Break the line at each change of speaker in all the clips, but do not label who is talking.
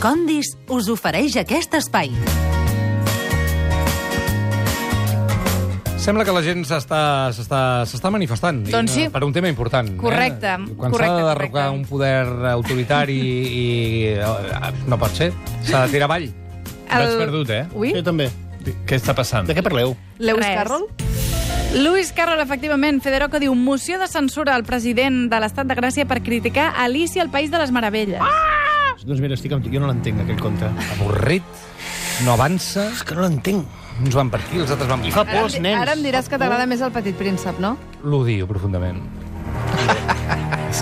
Condis us ofereix aquest espai.
Sembla que la gent s'està s'està- s'està manifestant i,
Doncs sí.
eh, per un tema important.
Correcte,
Eh? Quan s'ha
correcte,
de derrocar
correcte.
un poder autoritari i... eh, no pot ser. S'ha de tirar avall.
El-
Vaig perdut, eh?
Ui,
Jo també.
Què està passant?
De què parleu?
Lewis
Res.
Carroll? Lewis Carroll, efectivament. Federoco diu moció de censura al president de l'Estat de Gràcia per criticar Alicia al País de les Meravelles. Ah!
Doncs mira, estic amb... tu. jo no l'entenc, aquell conte.
Avorrit, no avança,
És que no l'entenc.
uns van per aquí, els altres van per
I
aquí.
fa por als nens.
Ara em diràs que t'agrada més el petit príncep, no?
L'odio profundament.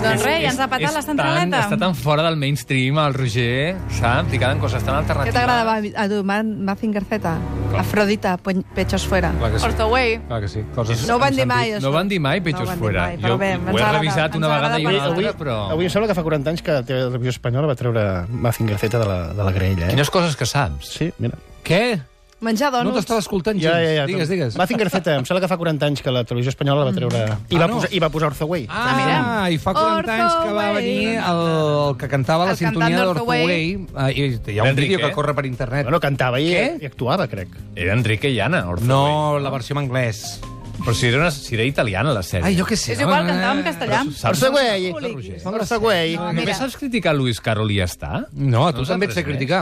Doncs res, ja ens ha patat la
tan,
centraleta.
està tan fora del mainstream, el Roger, saps? I queden coses tan alternatives.
Què t'agradava a tu? Ma- Mazinger Z? Afrodita, pu- pechos fuera.
Clar que sí.
Ortoway.
Clar que sí. Coses
No ho van
amb
dir mai,
sentit.
això.
No van dir mai Pechos
No van dir
Fuera.
mai, però
jo
bé, ens
ho he
agrada,
revisat
ens
una
agrada
vegada i una
bastant.
altra,
Avui,
però...
avui em sembla que fa 40 anys que la teva televisió espanyola va treure Mazinger Z de la, de la graella, eh?
Quines coses que saps.
Sí, mira.
Què?
Menjar doncs.
No
donos.
t'estava escoltant, gens.
Ja, ja, ja.
Digues, digues.
Mazinger Z, em sembla que fa 40 anys que la televisió espanyola la va treure... I,
Ah,
va,
no?
posar, i va posar Orthaway.
Ah, mira. i fa 40
Ortho
anys que va
Way.
venir el, el que cantava la
El
sintonia
cantant d'Ortho
d'Ortoway. Eh, I hi ha un
Enrique.
vídeo que corre per internet.
Bueno, cantava i,
Què?
i actuava, crec.
Era Enrique i Anna, Orfeo.
No, la versió en anglès.
Però si era, una, si era italiana, la sèrie.
Ai, jo què sé.
És igual,
no,
cantava en
eh,
castellà.
però saps-
Orthaway!
Roger.
Orthaway!
No, mira.
Només saps criticar Luis Carroll i ja està?
No, a tu
No
també et sé
saps res
criticar.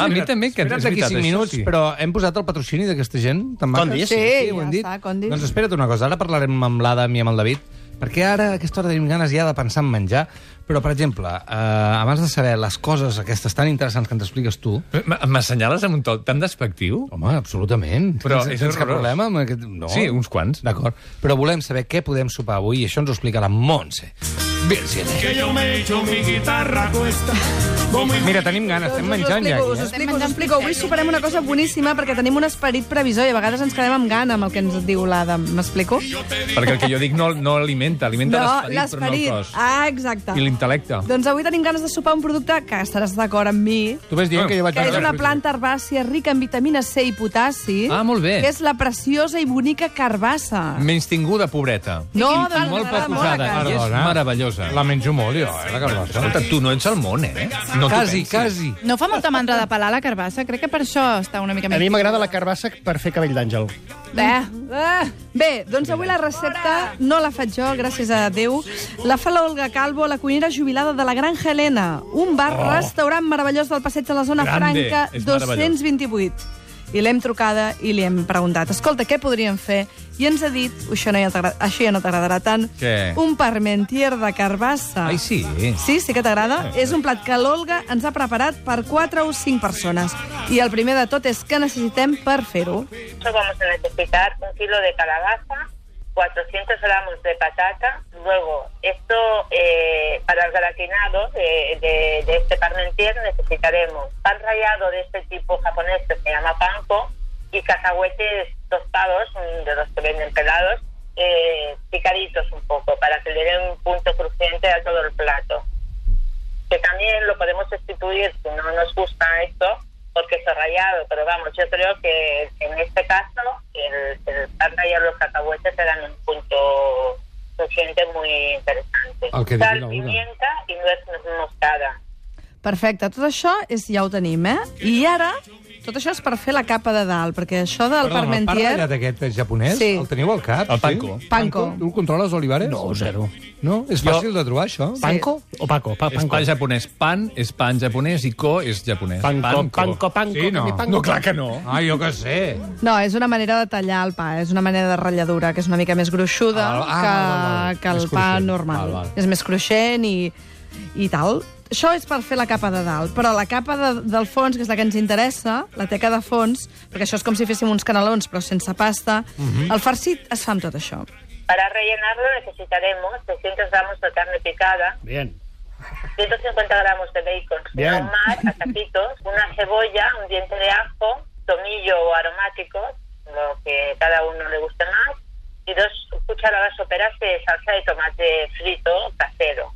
Ah, a mi també, que
Espera't
és
d'aquí
veritat,
5
això
minuts,
sí.
però hem posat el patrocini d'aquesta gent? Te'n marques?
Condis?
Sí,
ho
ja
hem dit.
està, Condis.
Doncs espera't una cosa, ara parlarem amb l'Adam i amb el David, perquè ara a aquesta hora tenim ganes ja de pensar en menjar, però, per exemple, eh, abans de saber les coses aquestes tan interessants que ens expliques tu,
M- M'assenyales amb un to tan despectiu?
Home, absolutament.
Però
sense,
és
sense cap
horrorós.
problema amb aquest... No.
Sí, uns quants.
D'acord. Però volem saber què podem sopar avui i això ens ho explicarà Montse. Virgile.
que yo me echo mi guitarra cuesta. Como
Mira, tenim ganes, estem
Us ho
menjant ja.
explico, us ho
Aquí, eh?
explico, us ho explico. Avui soparem una cosa boníssima perquè tenim un esperit previsor i a vegades ens quedem amb gana amb el que ens diu l'Adam. M'explico?
Perquè el que jo dic no, no alimenta, alimenta l'esperit, però no el cos.
Ah, exacte.
I l'intel·lecte.
Doncs avui tenim ganes de sopar un producte que estaràs d'acord amb mi,
Tu vas dient que jo vaig...
que és una planta herbàcia rica en vitamina C i potassi,
Ah, molt bé.
que és la preciosa i bonica carbassa.
Menys tinguda, pobreta.
No, doncs ens
molt
agrada
poc
molt la
usada.
carn.
I és
Perdona.
meravellosa.
La menjo molt, jo, eh, la
Escolta,
carbassa.
tu no ets al món, eh? No t'ho
Quasi,
pensis.
quasi.
No fa molta mandra de pelar la carbassa? Crec que per això està una mica
A
més...
mi m'agrada la carbassa per fer cabell d'àngel.
Bé, bé, doncs avui la recepta no la faig jo, gràcies a Déu. La fa l'Olga Calvo, la cuinera jubilada de la Granja Helena, un bar-restaurant meravellós del passeig de la Zona
Oh. Grande,
Franca
és meravellós.
228. I l'hem trucada i li hem preguntat, escolta, què podríem fer? I ens ha dit, això, no ja t'agra- això ja no t'agradarà tant,
Què?
un parmentier de carbassa.
Ai, sí.
Sí, sí que t'agrada. És un plat que l'Olga ens ha preparat per 4 o 5 persones. I el primer de tot és que necessitem per fer-ho.
Nosotros vamos a necesitar un kilo de calabaza, 400 gramos de patata, luego esto eh, para el gratinado de, de- de este parmentier necesitaremos pan rallado de este tipo japonés que se llama panko y cacahuetes tostados, mm, de los que venden pelados, eh, picaditos un poco para que le den un punto crujiente a todo el plato que también lo podemos sustituir si no nos gusta esto porque es rayado, pero vamos, yo creo que en este caso el, el pan rallado los cacahuetes te dan un punto suficiente muy interesante.
Al que diga la
Sal,
Olga.
pimienta y nuez moscada.
Perfecte, tot això és, ja ho tenim, eh? I ara, tot això és per fer la capa de dalt, perquè això
Perdona,
del
el
parmentier...
parla d'aquest japonès,
Sí.
el teniu al cap?
El panko.
Sí?
Panko.
Tu el controles, Olivares?
No, zero.
No? És
Jo-
fàcil de trobar, això?
Panko o Paco? Pa,
És
panko.
pa japonès. Pan és pan japonès i ko és japonès.
Panko, panko, panko.
Sí, no.
mi panko.
No, clar que no.
Ah, jo què sé.
No, és una manera de tallar el pa, és una manera de ratlladura, que és una mica més gruixuda
Ah, ah,
que,
val, val.
que el
Més
pa
cruixent.
normal.
Val, val.
És més cruixent i, i tal. Això és per fer la capa de dalt, però la capa de, del fons, que és la que ens interessa, la teca de fons, perquè això és com si féssim uns canelons, però sense pasta,
Mhm.
el farcit es fa amb tot això.
Para rellenarlo necesitaremos 300 gramos de carne picada,
Bien.
150 gramos de bacon, sin
Bien.
ahumar, a taquitos, una cebolla, un diente de ajo, tomillo o aromáticos, lo que cada uno le guste más, y dos cucharadas soperas de salsa de tomate frito casero.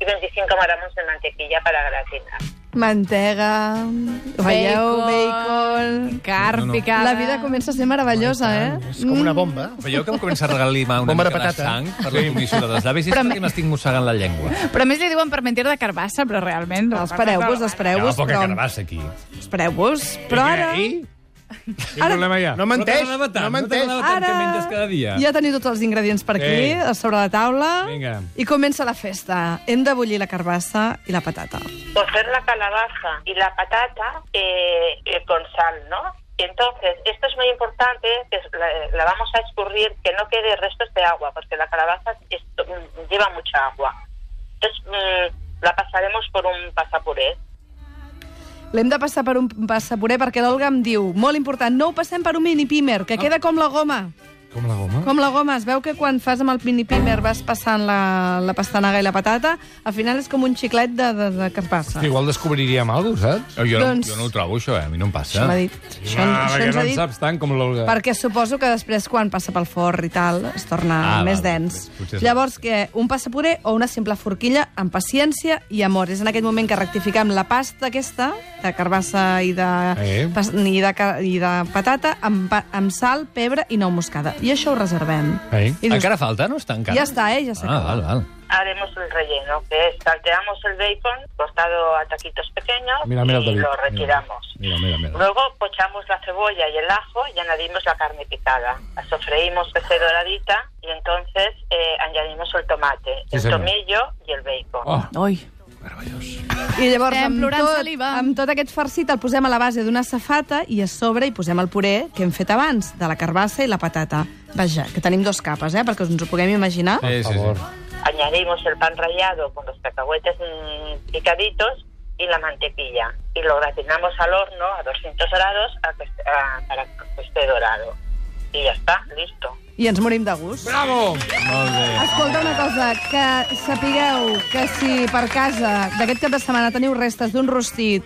y 25 gramos de mantequilla para gratinar.
Mantega, ho veieu,
Bacon.
bacon...
Carn
No, no.
picada.
La vida comença a ser meravellosa, eh?
És com una bomba.
Veieu que em comença a regalar una
Bomba de
mica de
patata.
sang per la comissura dels llavis i és
Però-
perquè m'estic mossegant la llengua.
Però a més li diuen permentir de carbassa, però realment...
No, Espereu-vos,
Hi ha
espereu-vos,
poca
però...
carabassa aquí.
Espereu-vos, però ara...
Quin problema hi ha?
No menteix, no menteix.
Ara...
Ara
Que menges cada dia.
ja teniu tots els ingredients per aquí,
Ei.
a sobre la taula,
Vinga.
i comença la festa. Hem de bullir la carbassa i la patata.
cocer la calabaza y la patata eh, eh, con sal, ¿no? Entonces, esto es muy importante, que es- la, la vamos a escurrir, que no quede restos de agua, porque la calabaza es- mm, lleva mucha agua. Entonces, mm, la pasaremos por un pasapuré.
L'hem de passar per un passapuré perquè l'Olga em diu, molt important, no ho passem per un mini pimer, que queda com la goma.
Com la goma?
Com la goma, es veu que quan fas amb el mini pimer vas passant la, la pastanaga i la patata, al final és com un xiclet de, de, de carbassa.
Igual descobriríem alguna cosa, saps?
Jo, jo, doncs...
Doncs-
no, jo no ho trobo, això, eh? A mi no em passa.
Això m'ha dit. Això, això
perquè
ens
no
ha
en
dit...
saps tant com l'Olga.
Perquè suposo que després, quan passa pel forn i tal, es torna
Ah,
més
val,
dens.
potser- potser és
Llavors,
la-
que un passapuré o una simple forquilla amb paciència i amor. És en aquest moment que rectifiquem la pasta aquesta, de carbassa i de,
Eh.
pas, i de, ca- i de patata, amb, pa- amb sal, pebre i nou moscada. I això ho reservem.
Eh.
I dius,
Encara falta, no està encara?
ja està, eh? Ja s'ha
Ah, val, val.
Haremos el relleno, que es salteamos el bacon cortado a taquitos pequeños
Mira, mira el
y
David.
lo retiramos.
Mira, mira, mira.
Luego pochamos la cebolla y el ajo y añadimos la carne picada. La sofreímos que esté doradita y entonces eh, añadimos el tomate,
Sí,
el
señor.
tomillo y el bacon.
Oh,
Oi.
I llavors,
Estem
amb
plorant
tot,
saliva.
amb tot aquest farcit el posem a la base d'una safata i a sobre hi posem el puré que hem fet abans, de la carbassa i la patata. Vaja, que tenim dos capes, eh?, perquè us ens ho puguem imaginar.
Sí,
per
sí,
favor.
sí.
Añadimos el pan rallado con los cacahuetes mm, picaditos y la mantequilla y lo gratinamos al horno a 200 grados a que est- a- para que esté dorado. Y ya está, listo.
I ens morim de gust.
Bravo!
Molt bé.
Escolta una cosa, que sapigueu que si per casa d'aquest cap de setmana teniu restes d'un rostit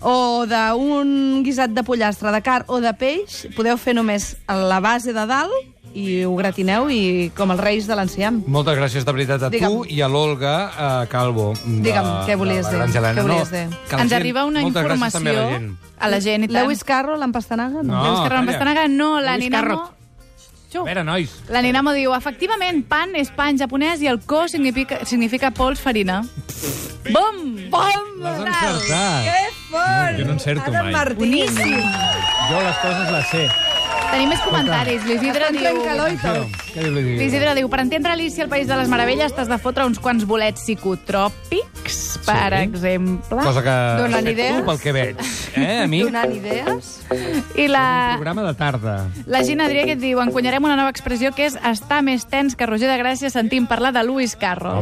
o d'un guisat de pollastre, de carn o de peix, podeu fer només la base de dalt i ho gratineu i com els reis de l'enciam.
Moltes gràcies, de veritat, a
Digue'm.
tu i a l'Olga eh, Calvo. de-
Digue'm, què volies
de la
dir?
Granja Helena.
Què volies
No,
dir?
que la
Ens
gent-
arriba una
moltes gràcies
informació
també a la gent.
a la gent i tant.
Lewis Carroll, amb pastanaga?
No.
Lewis Carroll,
calla.
Pastanaga, no, la
Lewis
Ninamo...
Carrot.
Xu.
A veure, nois,
La Ninamo diu, efectivament, pan és pan japonès i el ko significa, significa pols farina. Bom! Bom!
l'has encertat.
Que fort!
Jo no encerto
Ara
mai.
Martín.
Boníssim!
Jo les coses les sé.
Tenim més comentaris. L'Isidre
Estan
diu...
fent calor i tot.
Què diu l'Isidre?
L'Isidre diu, per entendre Alicia al País de les Meravelles t'has de fotre uns quants bolets psicotròpics, per exemple.
Cosa que...
Donant
sé
idees.
Tu, pel que veig. Eh, a mi?
Donant idees?
I la,
Programa de tarda.
La Gina Adrià que et diu, encunyarem una nova expressió que és estar més tens que Roger de Gràcia sentint parlar de Lewis Carroll.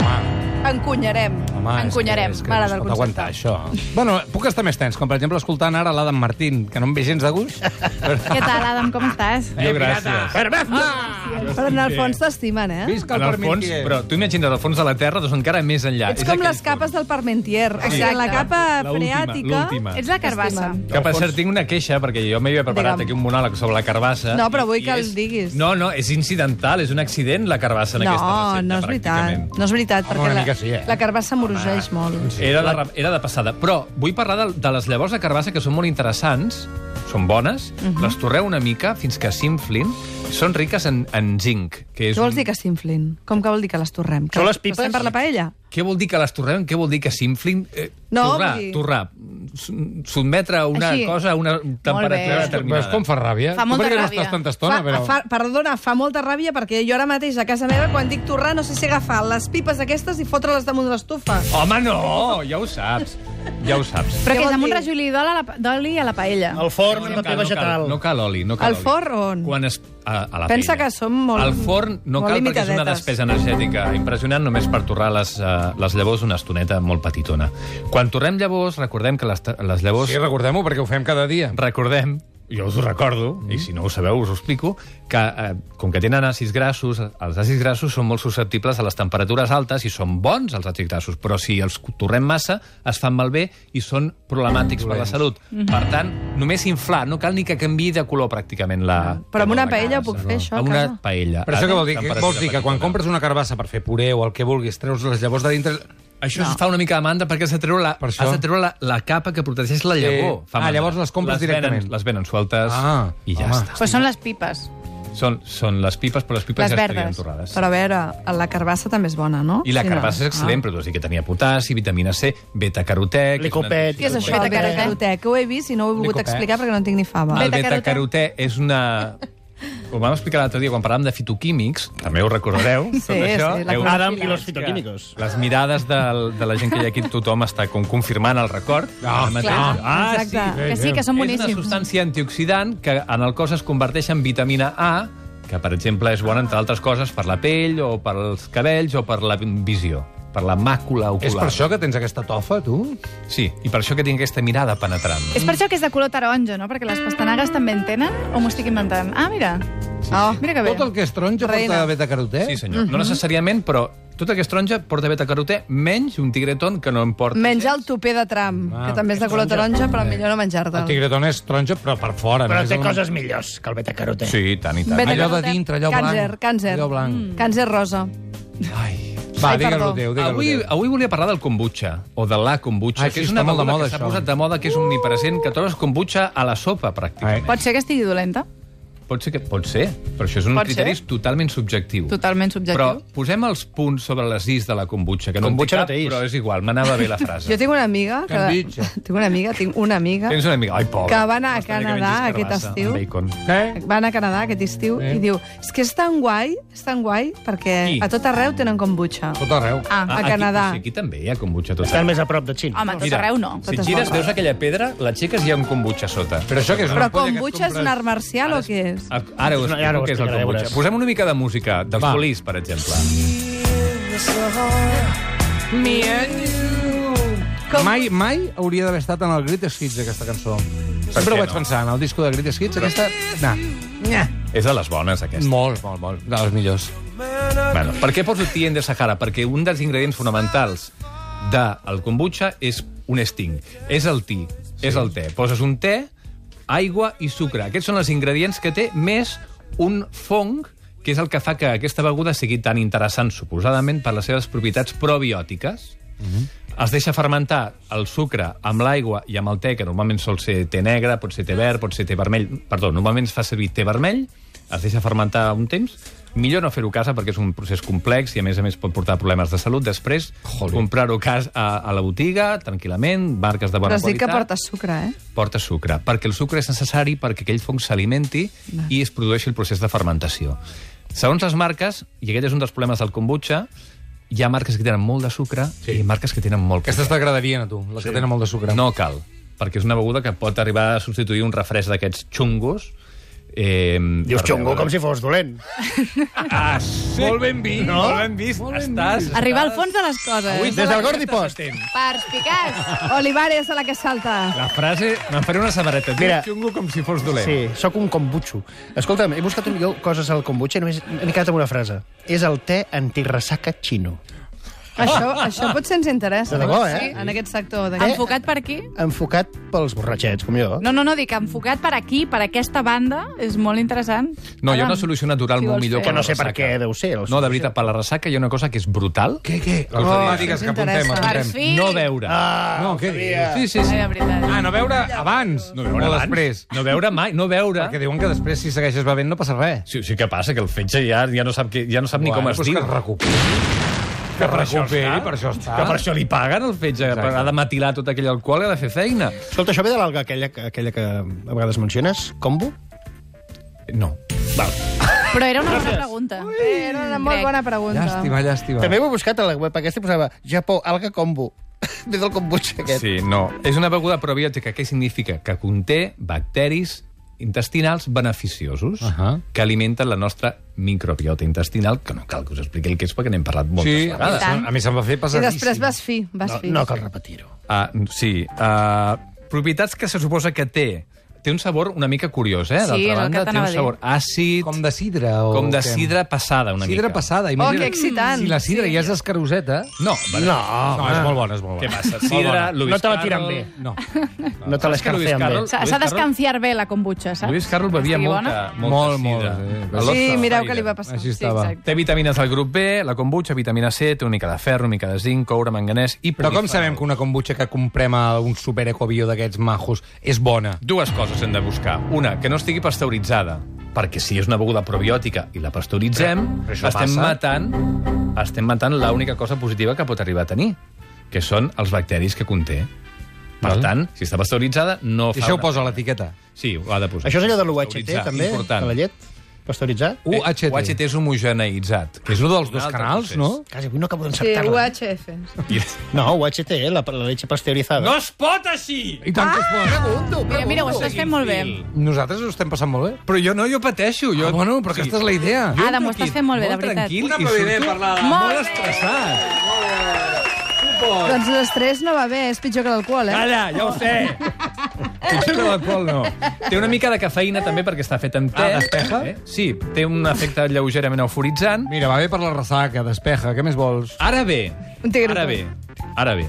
Encunyarem.
Home, és
Encunyarem.
que- és que
M'agrada
no es
el
pot aguantar, això. Bueno, puc estar més tens, com per exemple escoltant ara l'Adam Martín, que no em ve gens de gust. Eh,
Què tal, Adam, com estàs?
Jo, gràcies.
Però en el fons t'estimen, eh?
Visca
En
el
el fons,
Parmentier.
però tu imagina't, al fons de la Terra, doncs encara més
Ah,
enllà.
Ets com
aquell
les capes del Parmentier. O sigui,
Exacte.
la capa
La última,
freàtica...
l'última.
Ets la carbassa.
Que, per cert, tinc una queixa, perquè jo m'havia preparat
Digue'm.
aquí un monòleg sobre la carbassa.
No, però vull
i
que el
és-
diguis.
No, no, és incidental, és un accident, la carbassa, en
No,
aquesta recepta,
no és
pràcticament.
veritat. No és veritat,
Home,
perquè
una
la,
mica sí, eh?
la carbassa morugeix molt.
Era de, re- era de passada. Però vull parlar de, de les llavors de carbassa, que són molt interessants, són bones,
Mhm.
les torreu una mica fins que s'inflin, són riques en, en zinc. Que és
Què vols
un...
dir que s'inflin? Com que vol dir que les torrem? Que
Són les pipes?
passem per la paella?
Què vol dir que les torrem? Què vol dir que s'inflin? Eh,
No,
torrar,
vull dir-
torrar. S- Sotmetre una
Així.
cosa a una temperatura
bé.
Però és
determinada.
com fa ràbia.
Fa
Tu
molta
per què no
ràbia.
estàs tanta estona, però...
fa, perdona, fa molta ràbia perquè jo ara mateix a casa meva, quan dic torrar, no sé si agafar les pipes aquestes i fotre-les damunt de l'estufa.
Home, no! Ja ho saps. Ja ho saps.
Però
Què
que és
vol
amb un
dir?
rajolí d'oli a la pa- d'oli a la paella.
El forn,
No
el paper
cal, no
vegetal.
cal, No cal oli, no cal
Al
oli.
forn o on?
Quan es, a, a la
Pensa
paella.
que som molt-
Al forn no
molt
cal perquè és una
limitadetes.
despesa energètica impressionant només per torrar les, uh, les llavors una estoneta molt petitona. Quan torrem llavors, recordem que les, ta- les llavors...
Sí, recordem-ho, perquè ho fem cada dia.
Recordem, jo us ho recordo,
Mm.
i si no ho sabeu us ho explico, que eh, com que tenen àcids grassos, els àcids grassos són molt susceptibles a les temperatures altes i són bons els àcids grassos, però si els torrem massa es fan malbé i són problemàtics per la salut.
Mm-hmm.
Per tant, només inflar, no cal ni que canviï de color pràcticament la...
Però amb una
la
paella
casa,
ho puc fer, això, a
Amb una
casa?
paella.
Però això
a
què vol dir?
temperatura
Vols dir que quan
petitona.
compres una carbassa per fer puré o el que vulguis, treus les llavors de dintre,
Això
No.
no. fa una mica de mandra perquè has de treure la,
Per això.
has de treure la, la capa que protegeix la
Sí.
llavor.
Ah,
mandra.
llavors les compres directament.
Venen, les venen sueltes
Ah,
i ja
home.
està.
Pues són les pipes.
Són, són les pipes, però les pipes
Les
ja
verdes.
estarien torrades.
Però a veure, la carbassa també és bona, no? Ah.
I la
Sí,
carbassa
no?
és excel·lent, però tu has dit que tenia potassi, vitamina C, beta-carotè... que és una-
Licopet.
Què és això,
Beta
el
carotè?
beta-carotè? Que ho he vist i no ho he volgut
Licopè.
explicar perquè no en tinc ni fava.
El
Beta-carotè.
beta-carotè és una... Ho vam explicar l'altre dia quan parlàvem de fitoquímics, també ho recordareu,
Sí,
tot això.
sí, la
Heu-
clorofila.
Adam i los fitoquímicos.
Les mirades del, de la gent que hi ha aquí, tothom està com confirmant el record.
Ah,
Ara mateix.
clar,
ah sí,
exacte.
Que sí, que són
És una
boníssims.
substància antioxidant que en el cos es converteix en vitamina A, que, per exemple, és bona, entre altres coses, per la pell o pels cabells o per la visió, per la màcula ocular.
És per això que tens aquesta tofa, tu?
Sí, i per això que tinc aquesta mirada penetrant.
Eh?
És per això que és de color taronja, no? Perquè les pastanagues també en tenen, o m'ho estic inventant? Ah, mira.
Oh,
Mira que bé.
Tot el que és taronja
Reina.
porta beta-carotè?
Sí, senyor. No Mm-hmm. necessàriament, però tot aquest taronja porta beta-carotè, menys un tigretón que no em porta...
menja el tupé de tram, que també és de color taronja, però millor no
El
menjar-te'l.
tigretón és taronja, però per fora.
Però
no és
té
el-
coses millors que el betacarotè.
Sí, i tant i tant.
Beta-
Allò de dintre, allò
Càncer,
blanc.
càncer. Mm.
Allò blanc.
Càncer rosa.
Ai.
Va,
Ai,
digues
perdó.
el teu, digues
Avui,
el teu.
avui volia parlar del kombucha, o de la kombucha,
Ai,
que
sí,
és una
està molt de
beguda
moda,
que s'ha
això. eh?
posat de moda,
Uh!
que és omnipresent, que trobes kombucha a la sopa, pràcticament.
Pot ser que estigui dolenta.
Pot ser que... Pot ser, però això és un
Pot
criteri
ser.
totalment subjectiu.
Totalment subjectiu.
Però posem els punts sobre les is de la kombucha, que no
Kombucha
en
no
té
té
cap,
is.
però és igual, m'anava bé la frase.
Jo tinc una amiga... Que...
Cambitxa.
Tinc una amiga, tinc una amiga...
Tens una amiga... Ai, pobre.
Que va anar a
M'està bé que
Canadà
mengis
aquest
carabassa
estiu.
amb Bacon.
Què?
Va anar a Canadà aquest estiu
Sí.
i diu és que és tan guai, és tan guai, perquè
Qui?
a tot arreu tenen kombucha.
Tot arreu.
Ah,
a Canadà.
Aquí, o sigui, aquí també hi ha kombucha tot
Estan més a prop de Xin.
Ah,
home, a tot arreu no.
Si
Totes
gires,
bones.
veus aquella pedra, la xeques i hi ha un kombucha sota.
Però això que és una
Però
ampolla que et
kombucha és
compres-
un art marcial o què és?
A- Ara ho
No,
explico,
ja no ho
què és el
explicaré,
kombucha.
veuràs.
Posem una mica de música, dels
Va.
Police, per exemple.
Mai, mai hauria d'haver estat en el Greatest Hits, aquesta cançó.
què
Sempre ho vaig
no?
pensar, en el disco de Greatest Hits, aquesta... Nah.
És de les bones, aquesta.
Molt, molt, molt. De les millors.
Bueno, per què poso Tien de Sahara? Perquè un dels ingredients fonamentals del kombucha és un sting. És el ti, és el te. Poses un te, aigua i sucre. Aquests són els ingredients que té, més un fong, que és el que fa que aquesta beguda sigui tan interessant, suposadament, per les seves propietats probiòtiques. Es deixa fermentar el sucre amb l'aigua i amb el te, que normalment sol ser te negre, pot ser te verd, pot ser te vermell... Perdó, normalment es fa servir te vermell, es deixa fermentar un temps. Millor no fer-ho a casa perquè és un procés complex i, a més a més, pot portar problemes de salut. Després, comprar-ho a, cas- a, a la botiga, tranquil·lament, marques de bona
Però sí
qualitat
que porta sucre, eh?
porta sucre, perquè el sucre és necessari perquè aquell fong s'alimenti i es produeixi el procés de fermentació. Segons les marques, i aquest és un dels problemes del kombucha, hi ha marques que tenen molt de sucre sí. i marques que tenen molt
Aquestes t'agradarien a tu, les que tenen molt de sucre.
no cal, perquè és una beguda que pot arribar a substituir un refresc d'aquests xungos. Eh,
Dius
per
xungo
beure.
com si fos dolent.
Ah, sí. Molt ben vist, no? molt ben vist. Molt ben Estàs... Vist.
Arribar al fons de les coses.
Des del Gordi Post.
Perspicaç.
Olivares a la que salta.
La frase... Me'n faré una samarreta.
Mira.
Mira, xungo com si fos dolent.
Sí, sóc un kombucho. Escolta'm, he buscat un- jo coses al kombucha i només m'he quedat amb una frase. És el te antirressaca xino.
Això, això potser ens interessa.
De debò,
Sí,
eh?
En aquest sector. d'aquest-
Enfocat per aquí?
Enfocat pels borratxets, com jo.
No, no, no, dic enfocat per aquí, per aquesta banda, és molt interessant.
No, hi ha
Adam,
una solució natural
si
molt
vols
millor
fer.
Que
la
no sé per
ressaca.
què deu ser. el
No, de veritat, per la ressaca hi ha una cosa que és brutal.
Què, què? Oh, Va, digues que apuntem,
interessa.
Per
apuntem.
fi!
No veure. Ah,
No, què dius? Sí, sí,
Ai,
sí.
de veritat.
Ah, no veure abans, no veure o
abans.
després.
No veure mai, no veure.
Perquè diuen que després, si segueixes bevent, no passa res.
Sí, sí que passa, que el fetge ja, ja no sap, que, ja no sap ni com
Bueno,
es
doncs
diu.
Que es recuperi, que es recuperi, per això està.
Que per això li paguen el fetge, Exacte. ha de matilar tot aquell alcohol i ha de fer feina.
Escolta, això ve de l'alga aquella, que- aquella que a vegades menciones? Combo?
No. Val.
Però era una bona pregunta.
Eh, Era una molt
Crec.
bona pregunta.
Llàstima, llàstima.
També ho he buscat a la web aquesta i posava Japó, alga combo. Ve del kombucha aquest.
Sí, no. És una beguda probiòtica. Què significa? Que conté bacteris intestinals beneficiosos uh
Ahà.
-huh. que alimenten la nostra microbiota intestinal, que no cal que us expliqui el que és perquè n'hem parlat moltes
Sí, a mi,
vegades.
se- eh? a mi se'm va fer
I
pesadíssim.
després vas fi, vas
No,
fi.
Ah,
no cal repetir-ho.
Uh, sí. Uh, propietats que se suposa que té. Té té un sabor una mica curiós, eh?
Sí, és el
D'altra
que
banda, té
t'anava
un
a dir.
sabor àcid,
Com de sidra o...
com de
què?
sidra passada, una
sidra
mica.
passada.
que excitant.
Si la sidra
Sí.
ja és escaroseta...
No,
No,
No, és molt bona, és molt bona.
Què passa?
Molt bona.
Sidra, Luis
No te la tiren
Carroll-
bé.
No.
No te l'escarceen bé.
Carroll-
S'ha
Luis
s'ha
Carroll-
d'escanciar bé la kombucha, saps?
Luis Carroll bevia
Que estigui
molta,
bona. Molt,
molta sidra.
molt, sí.
L'Oscar
Sí, mireu què
Freire.
li va passar.
Així
Sí,
estava.
exacte.
Té vitamines del grup B, la kombucha, vitamina C, té una mica de ferro, una mica de zinc, coure, manganès i
Però com
polifenol.
sabem que una kombucha que comprem a un super ecovió d'aquests majos és bona?
Dues coses hem de buscar. Una, que no estigui pasteuritzada, perquè si és una beguda probiòtica i la pasteuritzem,
Però això
estem
passa.
matant estem matant l'única cosa positiva que pot arribar a tenir, que són els bacteris que conté. Per
Val.
tant, si està pasteuritzada, no
I
fa...
això ho
una-
posa a l'etiqueta.
Sí, ho ha de posar.
Això és allò de l'UHT,
Pasteuritzar,
també?
Important.
De la llet? Pasteuritzar?
Eh,
UHT.
UHT és homogeneïtzat.
Que és lo dels
Un
dos
altre
canals,
procés.
no?
Quasi, avui no acabo
Sí,
d'encertar-la.
UHF.
No, UHT, eh, la, la leche pasteurizada.
No es pot així!
I tant que es
Ah!
pot.
Pregunto,
Mira, mira, ho estàs fent molt bé.
Nosaltres ho estem passant molt bé.
Però jo no, jo pateixo. Jo...
Ah, bueno, però aquesta és la idea.
Adam, ho
Jo entro
Ah, doncs estàs
aquí
fent molt bé, de veritat.
tranquil
Un
i
aplaudiment
surto
per l'Adam.
Molt
Molt
bé.
estressat.
Doncs l'estrès no va bé, és pitjor que l'alcohol, eh?
Calla, ja ho sé. Potser que l'alcohol no. Té una mica de cafeïna també perquè està fet amb te.
Ah, despeja?
Eh? Sí, té un efecte lleugerament euforitzant.
Mira, va bé per la ressaca, despeja, què més vols?
Ara bé,
Un tigre
ara
tot.
bé, ara bé.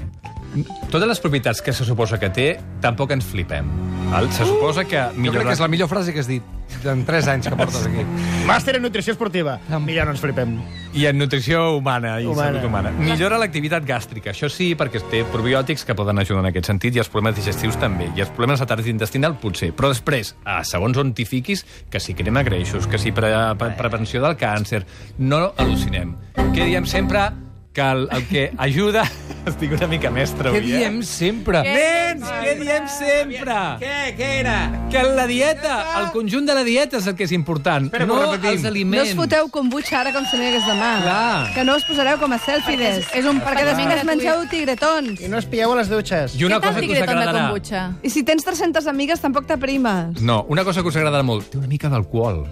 Totes les propietats que se suposa que té, tampoc ens flipem. Val? Se suposa que
Jo crec
millora...
que és la millor frase que has dit en 3 anys que portes aquí.
Màster en nutrició esportiva. Mira, no ens flipem.
I en nutrició humana i
Humana.
salut humana. Millora l'activitat gàstrica, això sí, perquè té probiòtics que poden ajudar en aquest sentit, i els problemes digestius també, i els problemes de intestinal potser. Però després, a segons on t'hi fiquis, que si crema greixos, que si pre pre prevenció del càncer, no al·lucinem. Què diem sempre? Que el, el que ajuda... Estic una mica mestre,
Què
avui, eh?
diem sempre?
Nens, què diem sempre? Què, què era? Que la dieta, el conjunt de la dieta és el que és important,
Espera, que
no
ho repetim.
els
No
aliments.
us foteu kombucha ara com si no hi hagués demà.
Clar.
Que no us posareu com a selfies.
és- és un
Perquè
perfecte.
després mengeu tigretons.
I no es pilleu a les dutxes.
I una
Què
cosa
tal
que us
tigretón de
agradarà...
kombucha?
I si tens 300 amigues, tampoc t'aprimes.
No, una cosa que us agradarà molt. Té una mica d'alcohol.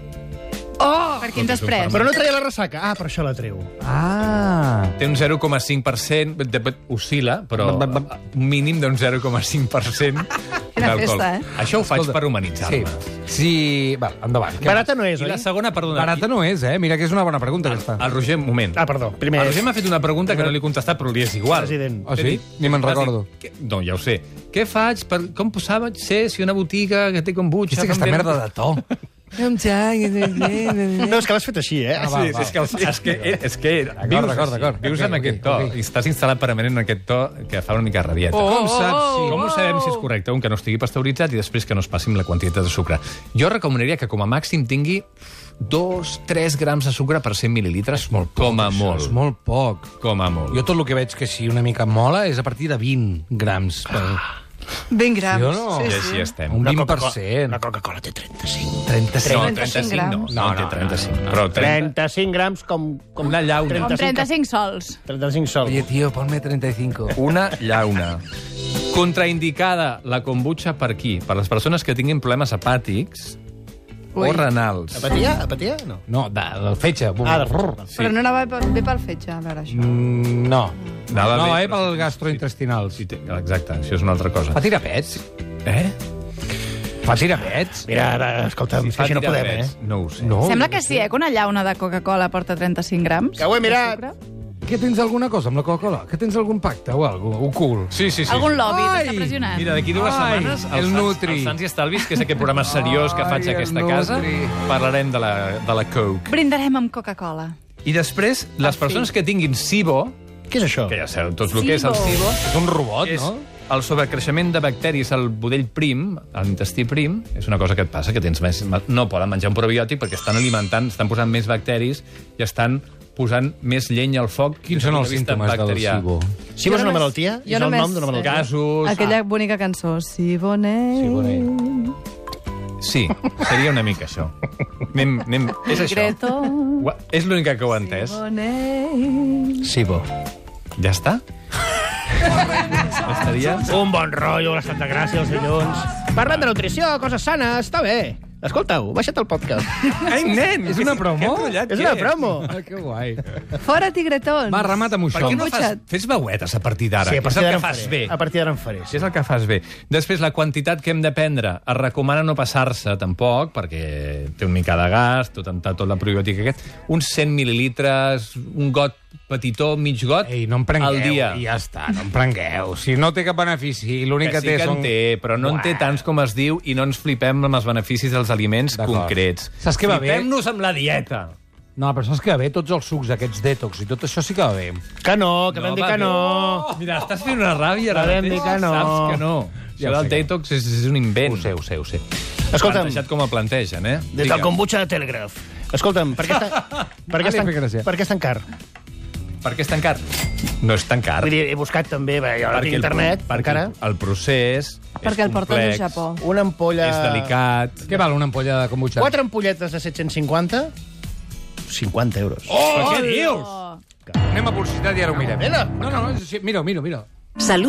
Oh! Per quins després?
Però no traia la ressaca. Ah, per això la treu.
Ah,
Té un 0,5%, de- de- oscil·la, però eh, un mínim d'un 0,5%
Quina
d'alcohol.
festa, eh?
Això ho faig
Escolta,
per
sí.
humanitzar-me.
Sí, val, endavant. Què
Barata no és,
I
oi?
la segona, perdona.
Barata no és, eh? Mira que és una bona pregunta,
El,
aquesta.
el Roger, un moment.
Ah, perdó. Primer
El
és...
Roger m'ha fet una pregunta que no li he contestat, però li és igual.
President.
Ah, sí? Ni me'n
M'has dit,
recordo.
"Què- No, ja ho sé. Què faig? Per, com posava ser si una botiga que té kombucha...
Aquesta, aquesta
com ven-
merda de to.
No, és que l'has fet així, eh?
Ah, va,
Sí,
va.
és que, és que, eh, és que
D'acord,
vius,
d'acord,
així,
d'acord.
vius
Ok,
en
ok,
aquest to.
ok. Oh,
I estàs instal·lat permanent en aquest to que fa una mica de rabieta.
Com saps si...
Com ho sabem si és correcte? Un, que no estigui pasteuritzat i després que no es passi amb la quantitat de sucre. Jo recomanaria que com a màxim tingui 2-3 grams de sucre per 100 mil·lilitres, com a
És
molt.
molt poc.
Com a molt.
Jo tot el que veig que si una mica mola és a partir de 20 grams. Per...
20 grams.
Sí o no?
I així estem.
Un
La
20%.
Coca-Cola té 35.
35.
35
No, 35 no.
grams.
No, té 35. Però 30...
35 grams com... com
Una llauna.
Com 35 sols.
35 sols.
Oye, tío, ponme 35.
Una llauna. Contraindicada la kombucha per qui? Per les persones que tinguin problemes hepàtics
Ui.
o renals.
Apatia? Apatia? No.
No, de, del fetge.
Ah, de...
Sí.
Però no anava bé pel fetge, a veure això.
Mm, no.
Anava
no,
bé,
eh,
però
pel gastrointestinal. Sí, té.
Exacte, això és una altra cosa.
Fa tirapets?
Eh?
Fa tirapets?
Mira, ara, escolta'm, és que així no podem, eh?
No ho sé.
No.
Sembla que sí, eh, que una llauna de Coca-Cola porta 35 grams.
Que ho he mirat.
de sucre.
Que tens alguna cosa amb la Coca-Cola? Que tens algun pacte o alguna cosa? Ocult?
Sí, sí, sí.
Algun lobby t'està
Ai!
pressionant.
Mira, d'aquí dues
Ai,
setmanes,
el
Sants-
Nutri.
el Sants i Estalvis, que és aquest programa seriós que faig
Ai,
a aquesta
el Nutri.
casa, parlarem de la, de la Coke.
Brindarem amb Coca-Cola.
I després, les persones que tinguin SIBO,
Què és això?
que ja sabeu tot el que és el SIBO,
És un robot,
és
no?
el sobrecreixement de bacteris al budell prim, a l'intestí prim, és una cosa que et passa, que tens més... No poden menjar un probiòtic perquè estan alimentant, estan posant més bacteris i estan posant més llenya al foc.
Quins són els
des del punt
símptomes
de
del
vista
SIBO?
Si vols una malaltia, és el nom d'una malaltia.
Gasos...
Ah.
Aquella bonica cançó, Si bonet...
Sí, bueno, eh.
Sí, seria una mica això. Anem, anem. És això.
Greto,
Ua, És l'única que ho he entès.
bonet...
Sí, bo.
Ja està? Estaria...
Ah. Un bon rotllo, la Santa Gràcia, els dilluns. Parlem de nutrició, coses sanes, està bé. Escolta-ho, baixa't el podcast.
Ai, nen! És una promo?
És una promo.
Ah, que guai.
Fora, tigretons!
Va, remata amb
Per
això.
què no fas...
Butxa't.
Fes veuetes a partir d'ara,
Sí, a
que és
partir
el
d'ara
que
en
fas
faré.
bé.
A partir d'ara en faré.
És el que fas bé. Després, la quantitat que hem de prendre. Es recomana no passar-se, tampoc, perquè té una mica de gas, tot amb tot la probiòtica aquest. Uns 100 mil·lilitres, un got petitó, mig got,
Ei, no em prengueu,
al dia.
i ja està, no em prengueu. Si no té cap benefici, i l'únic
Que
que,
sí que
té
en
són...
té, però no en té
Uah.
tants com es diu i no ens flipem amb els beneficis dels aliments
D'acord.
concrets.
Saps què va bé?
Flipem-nos amb la dieta.
No, però saps que va bé? Tots els sucs, aquests detox i tot això sí que va bé.
Que no, que no,
No,
vam dir
va
que
bé.
no.
Mira, estàs fent una ràbia ara
Podem
mateix.
dir que no.
Saps que no.
Ja
Ja
ho
Això
sé
del
que no.
detox és, és un invent.
Ho sé, ho sé, ho sé.
Escolta'm,
Plantejat com el plantegen, eh?
des del
Digue'm,
kombucha de Telegraph. Escolta'm, per què és tan, per què és
Ara li fa gràcia.
tan, per què és tan car?
Per què és tan car? No és tan car.
Vull dir, he buscat també, bé, jo no
Perquè
tinc internet,
el, perquè
encara.
el- el procés
Perquè
és
el porten al
complex,
Japó.
Una ampolla...
És delicat.
Què val una ampolla de kombucha?
Quatre ampolletes de 750, 50 euros.
Oh, què dius?
Que-
Anem a publicitat i ara ho mirem.
Nena.
No, no, no, sí, mira-ho, mira-ho, mira-ho.
Salut